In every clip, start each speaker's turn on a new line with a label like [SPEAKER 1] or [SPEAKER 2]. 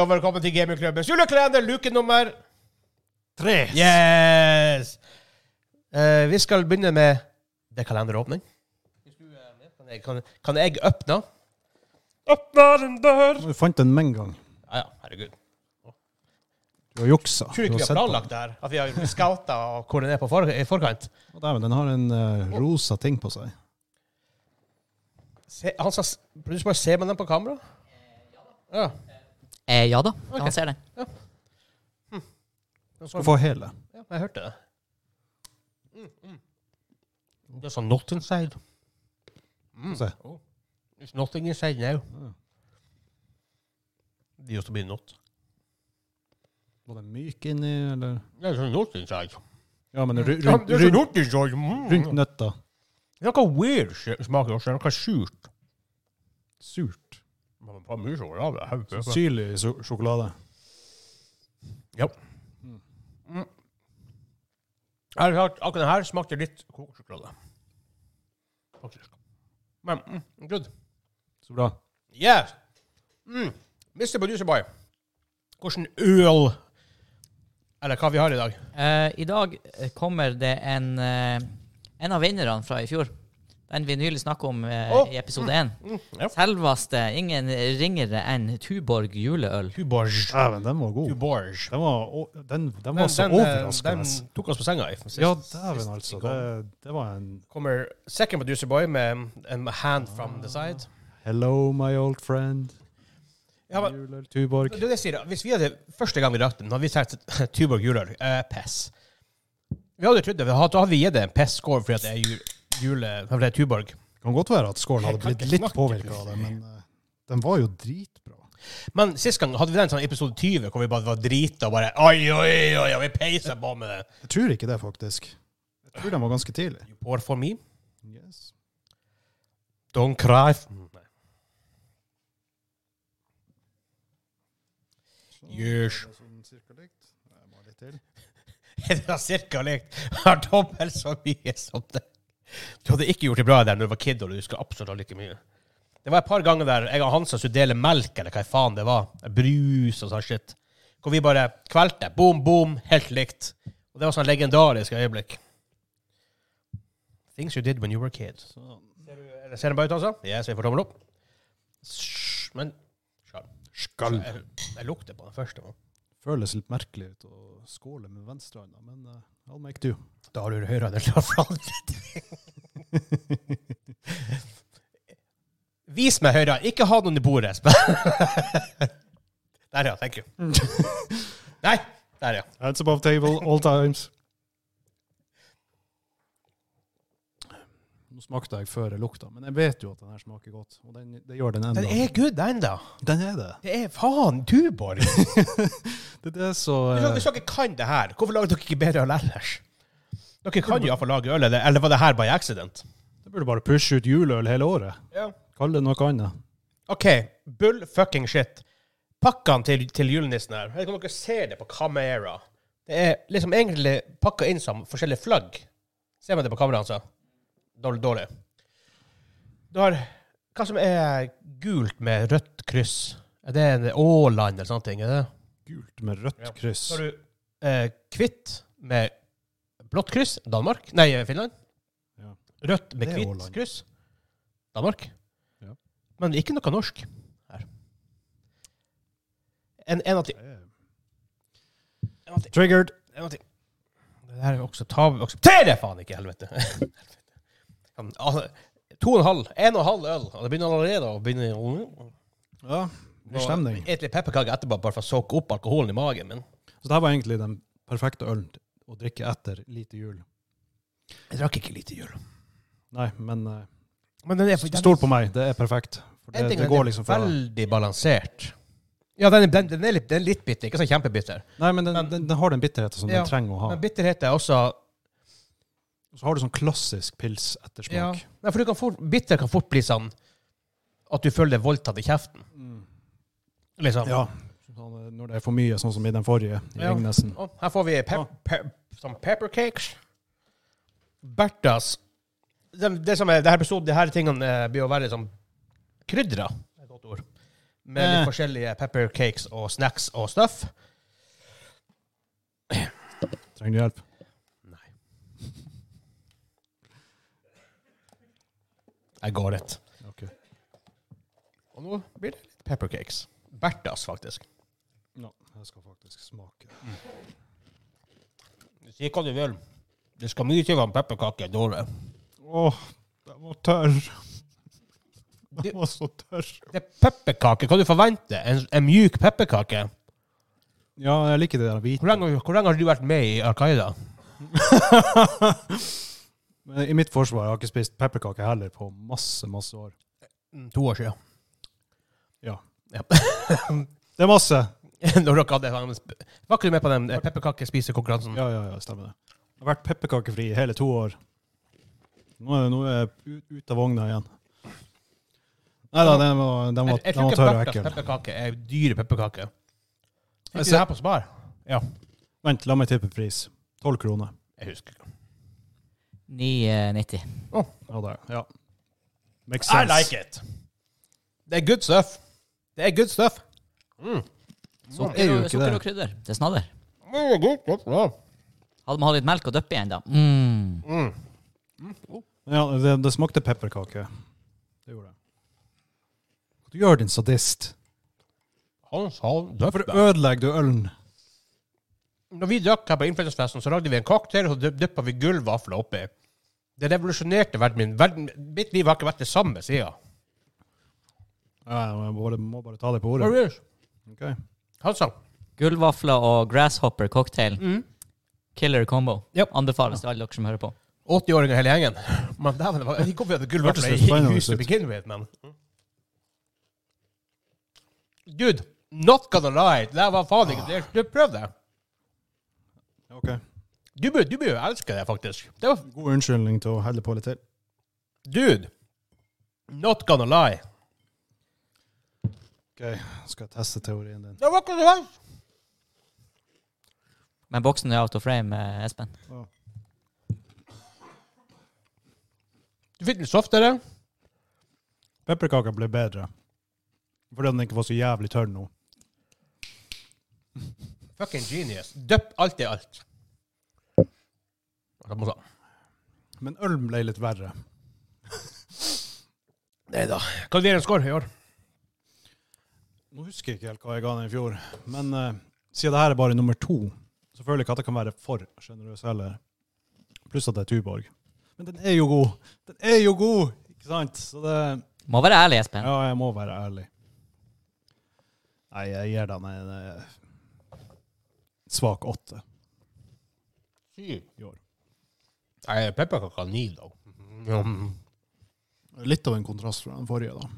[SPEAKER 1] og velkommen til Gamingklubbens julekalender, luke nummer
[SPEAKER 2] Tre.
[SPEAKER 1] Yes! Eh, vi skal begynne med det kalenderåpning. Hvis du er med, Kan jeg, kan, kan jeg åpne? Åpne en dør!
[SPEAKER 2] Du fant den med en gang.
[SPEAKER 1] Ja, ja, herregud.
[SPEAKER 2] Du har juksa.
[SPEAKER 1] Tror ikke vi har planlagt det her. At vi har scouta og koordinert på for, i forkant.
[SPEAKER 2] men den har en eh, rosa ting på seg.
[SPEAKER 1] Se, han sa, s- du bare ser man den på kamera? Ja.
[SPEAKER 3] Eh, ja da,
[SPEAKER 1] Ok.
[SPEAKER 3] han ser det.
[SPEAKER 2] Skal få hele.
[SPEAKER 1] Ja, jeg hørte det. Mm, Det er sånn not inside. Mm.
[SPEAKER 2] Se.
[SPEAKER 1] Oh. There's nothing inside now.
[SPEAKER 2] Ja.
[SPEAKER 1] Det used to be not.
[SPEAKER 2] Var den myk inni, eller?
[SPEAKER 1] There's a not inside.
[SPEAKER 2] Ja, men ru-
[SPEAKER 1] Ja,
[SPEAKER 2] rundt,
[SPEAKER 1] There's a
[SPEAKER 2] rundt,
[SPEAKER 1] not inside. Mm.
[SPEAKER 2] rundt nøtta.
[SPEAKER 1] Det er noe weird sh- smaker også. Det er Noe surt.
[SPEAKER 2] Surt.
[SPEAKER 1] Men det er mye sjokolade, jeg vet ikke.
[SPEAKER 2] Syrlig so- sjokolade.
[SPEAKER 1] Ja. Mm. Ærlig talt, akkurat den her smakte litt kokosjokolade. Faktisk. Men mm, good.
[SPEAKER 2] Så bra.
[SPEAKER 1] Yeah. Mm. Mr. Producer Boy, hvordan øl Eller hva vi har i dag?
[SPEAKER 3] Eh, I dag eh, kommer det en, eh, en av vinnerne fra i fjor. Den vi nylig snakket om eh,
[SPEAKER 1] Å,
[SPEAKER 3] i episode én.
[SPEAKER 2] Mm,
[SPEAKER 1] ja.
[SPEAKER 3] Selveste ingen ringere enn Tuborg juleøl.
[SPEAKER 1] Tuborge.
[SPEAKER 2] Dæven, den var god.
[SPEAKER 1] Tuborge.
[SPEAKER 2] Den var, å- den, Oh. den
[SPEAKER 1] Den-
[SPEAKER 2] var så
[SPEAKER 1] den, eh,
[SPEAKER 2] overraskende.
[SPEAKER 1] Den tok oss på senga. i- sist-
[SPEAKER 2] Ja,
[SPEAKER 1] sist
[SPEAKER 2] dæven,
[SPEAKER 1] vi
[SPEAKER 2] altså.
[SPEAKER 1] kom.
[SPEAKER 2] Det, det var en
[SPEAKER 1] Kommer second producer boy med en hand from the
[SPEAKER 2] Ah.
[SPEAKER 1] side.
[SPEAKER 2] Hello, my old friend.
[SPEAKER 1] Ja, men,
[SPEAKER 2] Juler
[SPEAKER 1] det
[SPEAKER 2] Tuborg.
[SPEAKER 1] er det jeg sier, da. hvis vi hadde første gang vi drakk den, hadde vi sagt Tuborg juleøl. Eh, pess. Vi hadde trodd det. Da hadde vi gitt det en pess-score fordi at det er jul, jule, fordi det er Tuborg.
[SPEAKER 2] Kan godt være at skålen hadde
[SPEAKER 1] Jeg kan
[SPEAKER 2] blitt
[SPEAKER 1] ikke
[SPEAKER 2] litt
[SPEAKER 1] snakke.
[SPEAKER 2] påvirka av det, men eh, den var jo dritbra.
[SPEAKER 1] Men sist gang hadde vi den sånn episode 20 hvor vi bare var drita og bare Oi, oi, oi, og vi peisa på med det.
[SPEAKER 2] Jeg tror ikke det, faktisk. Jeg tror den var ganske tidlig.
[SPEAKER 1] You pour for me?
[SPEAKER 2] Yes.
[SPEAKER 1] Don't cry. Yes.
[SPEAKER 2] Sånn cirka likt. Nei, bare litt til.
[SPEAKER 1] det var cirka likt. Har dobbelt så mye som det. Du hadde ikke gjort det bra der når du var kid, og du skulle absolutt ha like mye. Det var et par ganger der jeg og Hansa skulle dele melk, eller hva faen det var. Brus og sånn shit. Hvor vi bare kvelte. Boom, boom, helt likt. Og det var sånn legendarisk øyeblikk. Things you did when you were a kid.
[SPEAKER 2] Sånn.
[SPEAKER 1] Ser, du, eller ser den bra ut, altså? Yes, vi får tommel opp. Sj, Men
[SPEAKER 2] Skall.
[SPEAKER 1] jeg, jeg lukter på den første. Man.
[SPEAKER 2] Føles litt merkelig ut å skåle med venstrehånda, men eh, I'll make do.
[SPEAKER 1] Da har du høyrehånden klar for andre ting. Vis meg høyre. Ikke ha noen i bordet, Espen. der, ja. Thank you. Nei. Der, ja.
[SPEAKER 2] Hands above table all times. Nå smakte jeg før jeg lukta, men jeg vet jo at den her smaker godt. Og den, det gjør den enda.
[SPEAKER 1] Den er good ennå.
[SPEAKER 2] Den er det.
[SPEAKER 1] Det er faen Tuborg. Hvis
[SPEAKER 2] Det, det er så eh,
[SPEAKER 1] dere- Hvis dere kan det her, hvorfor lager dere ikke bedre øl ellers? Dere kan jo iallfall lage øl, eller- eller var det her by accident?
[SPEAKER 2] Det burde bare pushe ut juleøl hele året.
[SPEAKER 1] Ja.
[SPEAKER 2] Kall det noe annet.
[SPEAKER 1] OK, bull fucking shit. Pakkene til, til julenissen her, jeg vet ikke om dere ser det på kamera. Det er liksom egentlig pakka inn som forskjellige flagg. Ser man det på kameraet, altså? Dårlig, dårlig. Du har hva som er gult med rødt kryss. Er det en Åland eller sånne ting? Er det?
[SPEAKER 2] Gult med rødt
[SPEAKER 1] Ja.
[SPEAKER 2] kryss.
[SPEAKER 1] Så har du eh, hvitt med blått kryss, Danmark. Nei, eh, Finland.
[SPEAKER 2] Ja.
[SPEAKER 1] Rødt med
[SPEAKER 2] Det er
[SPEAKER 1] hvitt
[SPEAKER 2] Åland.
[SPEAKER 1] kryss, Danmark.
[SPEAKER 2] Ja.
[SPEAKER 1] Men ikke noe norsk her. En, en av ti. En av ti.
[SPEAKER 2] Triggered.
[SPEAKER 1] En av ti. Det her er også tab... Aksepterer jeg faen ikke, helvete! Helvete. Kan- altså, To og en halv, en og en halv øl, og det begynner allerede å begynne
[SPEAKER 2] Ja, det blir stemning.
[SPEAKER 1] Et litt pepperkake etterpå, bare for å soke opp alkoholen i magen min.
[SPEAKER 2] Så det her var egentlig den perfekte ølen t- å drikke etter lite jul.
[SPEAKER 1] Jeg drakk ikke lite jul.
[SPEAKER 2] Nei, men eh,
[SPEAKER 1] Men Altså, den er,
[SPEAKER 2] stol på meg, det er perfekt. For
[SPEAKER 1] En
[SPEAKER 2] det,
[SPEAKER 1] ting er
[SPEAKER 2] det
[SPEAKER 1] at
[SPEAKER 2] går
[SPEAKER 1] den
[SPEAKER 2] liksom
[SPEAKER 1] er
[SPEAKER 2] fra
[SPEAKER 1] Veldig balansert. Ja, den er, den, den er, litt, den er litt bitter, ikke sånn kjempebitter.
[SPEAKER 2] Nei, men den,
[SPEAKER 1] men-
[SPEAKER 2] den, den har den bitterheten som
[SPEAKER 1] Ja,
[SPEAKER 2] den trenger å ha.
[SPEAKER 1] Men bitterhet er også
[SPEAKER 2] Så har du sånn klassisk pils-ettersmak.
[SPEAKER 1] ja. Nei, for du kan fort, Bitter kan fort bli sånn at du føler deg voldtatt i kjeften.
[SPEAKER 2] Mm.
[SPEAKER 1] Liksom.
[SPEAKER 2] Ja. Sånn, eh, når det er for mye, sånn som i den forrige, i
[SPEAKER 1] Ja.
[SPEAKER 2] Ringnesen.
[SPEAKER 1] Og her får vi pep, pep, sånn peppercakes. Bertas det, det som er, det her episoden, de her tingene eh, blir å være sånn krydra. Det er et godt ord. med litt
[SPEAKER 2] Eh.
[SPEAKER 1] forskjellige pepper cakes og snacks og stuff.
[SPEAKER 2] Trenger du hjelp?
[SPEAKER 1] Nei. Jeg går rett.
[SPEAKER 2] Ok.
[SPEAKER 1] Og nå blir det litt pepper cakes. Bertas, faktisk.
[SPEAKER 2] No, jeg skal faktisk smake.
[SPEAKER 1] Si hva du vil. Det skal mye til å en pepperkake er dårlig.
[SPEAKER 2] Åh, den var tørr.
[SPEAKER 1] Du-
[SPEAKER 2] Den var så tørr.
[SPEAKER 1] Det er pepperkake. Hva du forventer? En, en mjuk pepperkake?
[SPEAKER 2] Ja, jeg liker det der hvite.
[SPEAKER 1] Hvor lenge, hvor lenge har du vært med i Al Qaida?
[SPEAKER 2] Men I mitt forsvar, jeg har ikke spist pepperkake heller på masse, masse år.
[SPEAKER 1] Mm, To år siden.
[SPEAKER 2] Ja.
[SPEAKER 1] Ja.
[SPEAKER 2] Det er masse!
[SPEAKER 1] Når dere hadde sånn sp- Var ikke du med på den eh, pepperkakespisekonkurransen?
[SPEAKER 2] Ja, ja, ja, stemmer det. Jeg har vært pepperkakefri i hele to år. Nå er, nå er jeg u- ut av vogna igjen. Nei da,
[SPEAKER 1] Jeg,
[SPEAKER 2] den var, den var,
[SPEAKER 1] jeg
[SPEAKER 2] den
[SPEAKER 1] tror
[SPEAKER 2] var
[SPEAKER 1] ikke
[SPEAKER 2] tørr og
[SPEAKER 1] Bertas
[SPEAKER 2] ekkel.
[SPEAKER 1] pepperkake er dyre pepperkaker. Er
[SPEAKER 2] Jeg
[SPEAKER 1] Ikke
[SPEAKER 2] ser-
[SPEAKER 1] det her på Spar? Ja.
[SPEAKER 2] Vent, la meg tippe pris. 12 kroner.
[SPEAKER 1] Jeg husker ikke.
[SPEAKER 3] 9,90.
[SPEAKER 2] Ja, det er- ja. Makes
[SPEAKER 1] I
[SPEAKER 2] sense.
[SPEAKER 1] like it! Det er good stuff. Det er good stuff. Mm.
[SPEAKER 2] er
[SPEAKER 3] Sukker
[SPEAKER 2] jo
[SPEAKER 3] og,
[SPEAKER 2] ikke
[SPEAKER 3] sukker
[SPEAKER 2] det.
[SPEAKER 3] og krydder. Det er snadder.
[SPEAKER 1] Mm, good stuff, ja.
[SPEAKER 3] Hadde man hatt litt melk å dyppe i ennå mm.
[SPEAKER 1] Mm.
[SPEAKER 2] Ja, det, det smakte pepperkake. Det gjorde det. Du gjør din sadist.
[SPEAKER 1] Han sa
[SPEAKER 2] Hvorfor
[SPEAKER 1] døpte.
[SPEAKER 2] ødelegger du ølen?
[SPEAKER 1] Når vi drakk her på innflytelsesfesten, så lagde vi en cocktail, og så dyppa vi gullvafler oppi. Det revolusjonerte verden min. Verden, mitt liv har ikke vært det samme siden.
[SPEAKER 2] Ja, jeg bare, må bare ta det på ordet.
[SPEAKER 1] Seriøst.
[SPEAKER 2] Ok.
[SPEAKER 1] Han sang.
[SPEAKER 3] Gullvafler og grasshopper cocktail.
[SPEAKER 2] Mm.
[SPEAKER 3] Killer combo.
[SPEAKER 1] Yep.
[SPEAKER 3] Anbefales til alle dere som hører på.
[SPEAKER 1] 80-åringer hele gjengen. Men dæven, det var- jeg kom over gullvafler
[SPEAKER 2] Hørtes litt
[SPEAKER 1] i
[SPEAKER 2] spennende
[SPEAKER 1] huset to
[SPEAKER 2] ut.
[SPEAKER 1] begin with, men Dude, not gonna lie. Det var faen ikke det. Du prøv det.
[SPEAKER 2] Ok.
[SPEAKER 1] Du bør, du bør jo elske det, faktisk. Det var,
[SPEAKER 2] God unnskyldning til å helle på litt til.
[SPEAKER 1] dude, not gonna lie.
[SPEAKER 2] Ok, skal jeg teste teorien din.
[SPEAKER 1] Det var ikke så verst.
[SPEAKER 3] Men boksen er out of frame, eh, Espen.
[SPEAKER 1] Du fikk den softere.
[SPEAKER 2] Pepperkaka ble bedre. Fordi den ikke var så jævlig tørr nå.
[SPEAKER 1] Fucking genius. Døpp alt i alt. Det må sa-
[SPEAKER 2] Men øl ble litt verre.
[SPEAKER 1] Nei da. Hva blir en score i år?
[SPEAKER 2] Nå husker jeg ikke helt hva jeg ga den i fjor, men eh, siden det her er bare nummer to, så føler jeg ikke at jeg kan være for sjenerøs heller. Pluss at det er Tuborg. Men den er jo god! Den er jo god! Ikke sant? Så det
[SPEAKER 3] Må være ærlig, Espen.
[SPEAKER 2] Ja, jeg må være ærlig. Nei, jeg gir den en eh, svak åtte
[SPEAKER 1] Syv.
[SPEAKER 2] i år.
[SPEAKER 1] Nei, pepperkaka ni, da. Mm.
[SPEAKER 2] Litt av en kontrast fra den forrige, da.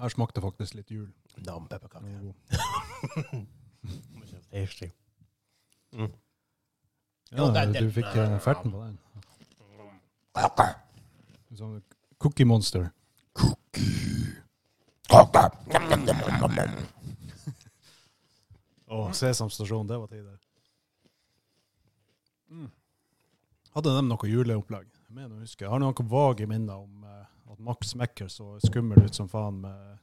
[SPEAKER 2] Her smakte faktisk litt jul.
[SPEAKER 1] Nam pepperkake.
[SPEAKER 2] Den var god.
[SPEAKER 1] Tasty.
[SPEAKER 2] Ja,
[SPEAKER 1] Jo, den-
[SPEAKER 2] du
[SPEAKER 1] den-
[SPEAKER 2] fikk eh, ferten på den. Sånn cookie monster. Å, Sesam stasjon, det var tider. Mm. Hadde de noe juleopplegg? Jeg mener å huske. Jeg har noen vage minner om eh, at Max Mekker så skummel ut som faen med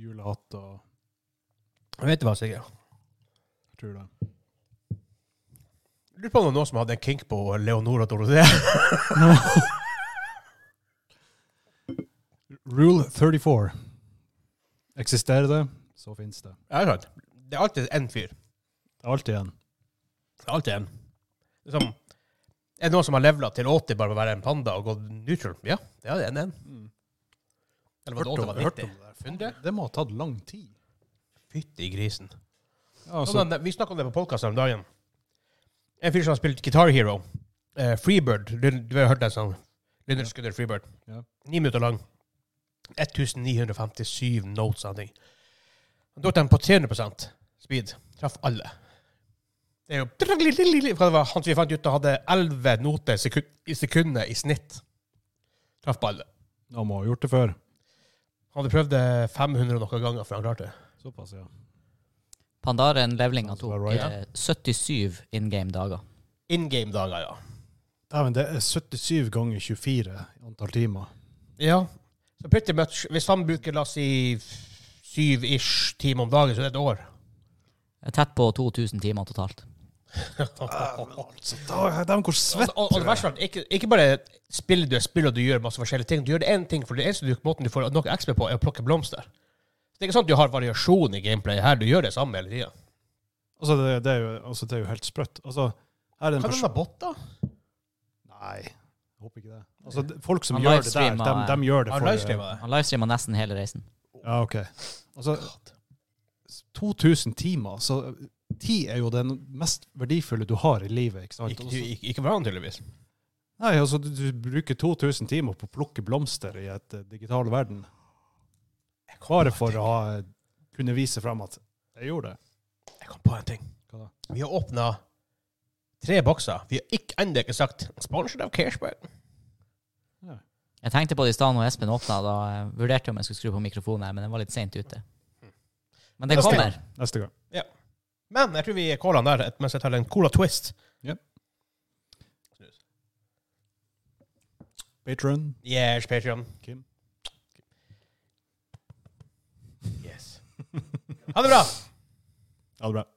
[SPEAKER 2] julehatt og
[SPEAKER 1] Vet du hva, Sigurd?
[SPEAKER 2] jeg tror det.
[SPEAKER 1] Lurer på om det var noen som hadde en kink på Leonora Dorothea.
[SPEAKER 2] Rule 34. Eksisterer det, så finnes det.
[SPEAKER 1] Ja, det er sant. Det er alltid en fyr.
[SPEAKER 2] Det er alltid en.
[SPEAKER 1] Det er alltid en. Liksom, er det noen som har levela til 80 bare ved å være en panda og gått neutral? Ja, det er en en.
[SPEAKER 2] Mm.
[SPEAKER 1] Eller var det 80 var 90?
[SPEAKER 2] det
[SPEAKER 1] Hundre?
[SPEAKER 2] Det må ha tatt lang tid.
[SPEAKER 1] Fytti grisen.
[SPEAKER 2] Ja, altså,
[SPEAKER 1] Sånn, den- vi snakka om det på podkast om dagen. En fyr som har spilt Guitar Hero. Eh, Freebird. Du, du har hørt den sangen? Lynyrd Skynyrd Freebird.
[SPEAKER 2] Ja.
[SPEAKER 1] Ni minutter lang. 1957 notes av ting. Han tok den på 300 speed. Traff alle. Det er jo For det var Han som vi fant ut av, hadde 11 noter sekund, i sekundet i snitt. Traff på alle.
[SPEAKER 2] han må ha gjort det før.
[SPEAKER 1] Han hadde prøvd det 500 og noen ganger før han klarte det.
[SPEAKER 2] Såpass, ja.
[SPEAKER 3] Pandaren Levlinga tok
[SPEAKER 2] Right.
[SPEAKER 3] eh, 77 in game dager.
[SPEAKER 1] In game-dager, ja.
[SPEAKER 2] Dæven, det er 77 ganger 24 i antall timer.
[SPEAKER 1] Ja. Så pretty much, hvis han bruker, la oss si f- syv-ish timer om dagen, så det er et år.
[SPEAKER 3] Tett på 2000 timer totalt.
[SPEAKER 2] Altså, da- Dæven, hvor
[SPEAKER 1] Og,
[SPEAKER 2] svett
[SPEAKER 1] og, og det verste er at ikke, ikke bare spiller du et spill og du gjør masse forskjellige ting. Du gjør én ting, for det eneste du, måten du får noe XP på, er å plukke blomster. Det er ikke sånn at du har variasjon i gameplayet her. Du gjør det samme hele tida.
[SPEAKER 2] Altså, det, det, er jo, altså, det er jo helt sprøtt. Altså, her er
[SPEAKER 1] Kan den
[SPEAKER 2] en
[SPEAKER 1] ha
[SPEAKER 2] person
[SPEAKER 1] bot, da?
[SPEAKER 2] Nei, jeg håper ikke det. Altså, det- folk som
[SPEAKER 3] Han
[SPEAKER 2] gjør det der,
[SPEAKER 3] livestreamer-
[SPEAKER 2] dem, dem gjør det
[SPEAKER 1] Har
[SPEAKER 2] for
[SPEAKER 1] han livestreama det?
[SPEAKER 3] Han livestreama nesten hele reisen.
[SPEAKER 2] Ja, OK. Altså, 2000 timer, så tid er jo den mest verdifulle du har i livet, ikke sant?
[SPEAKER 1] Ikke,
[SPEAKER 2] Og
[SPEAKER 1] du-
[SPEAKER 2] så-
[SPEAKER 1] ikke, ikke for han, tydeligvis.
[SPEAKER 2] Nei, altså, du, du bruker 2000 timer på å plukke blomster i et eh, digital verden. Bare for å ha, kunne vise frem at jeg gjorde det.
[SPEAKER 1] Jeg kom på en ting.
[SPEAKER 2] Hva da?
[SPEAKER 1] Vi har åpna tre bokser. Vi har ikke ennå ikke sagt 'sponsored av Cashback'.
[SPEAKER 3] Jeg tenkte på det i stad når Espen åpna. Da eh, vurderte jeg om jeg skulle skru på mikrofonen, her, men den var litt seint ute. Men det
[SPEAKER 1] Neste
[SPEAKER 3] kommer.
[SPEAKER 2] Neste gang.
[SPEAKER 1] Men jeg tror vi caller den der mens jeg tar en Cola Twist.
[SPEAKER 2] Patron,
[SPEAKER 1] Yes, Patreon.
[SPEAKER 2] Kim.
[SPEAKER 1] Yes. Ha det bra!
[SPEAKER 2] Ha det bra.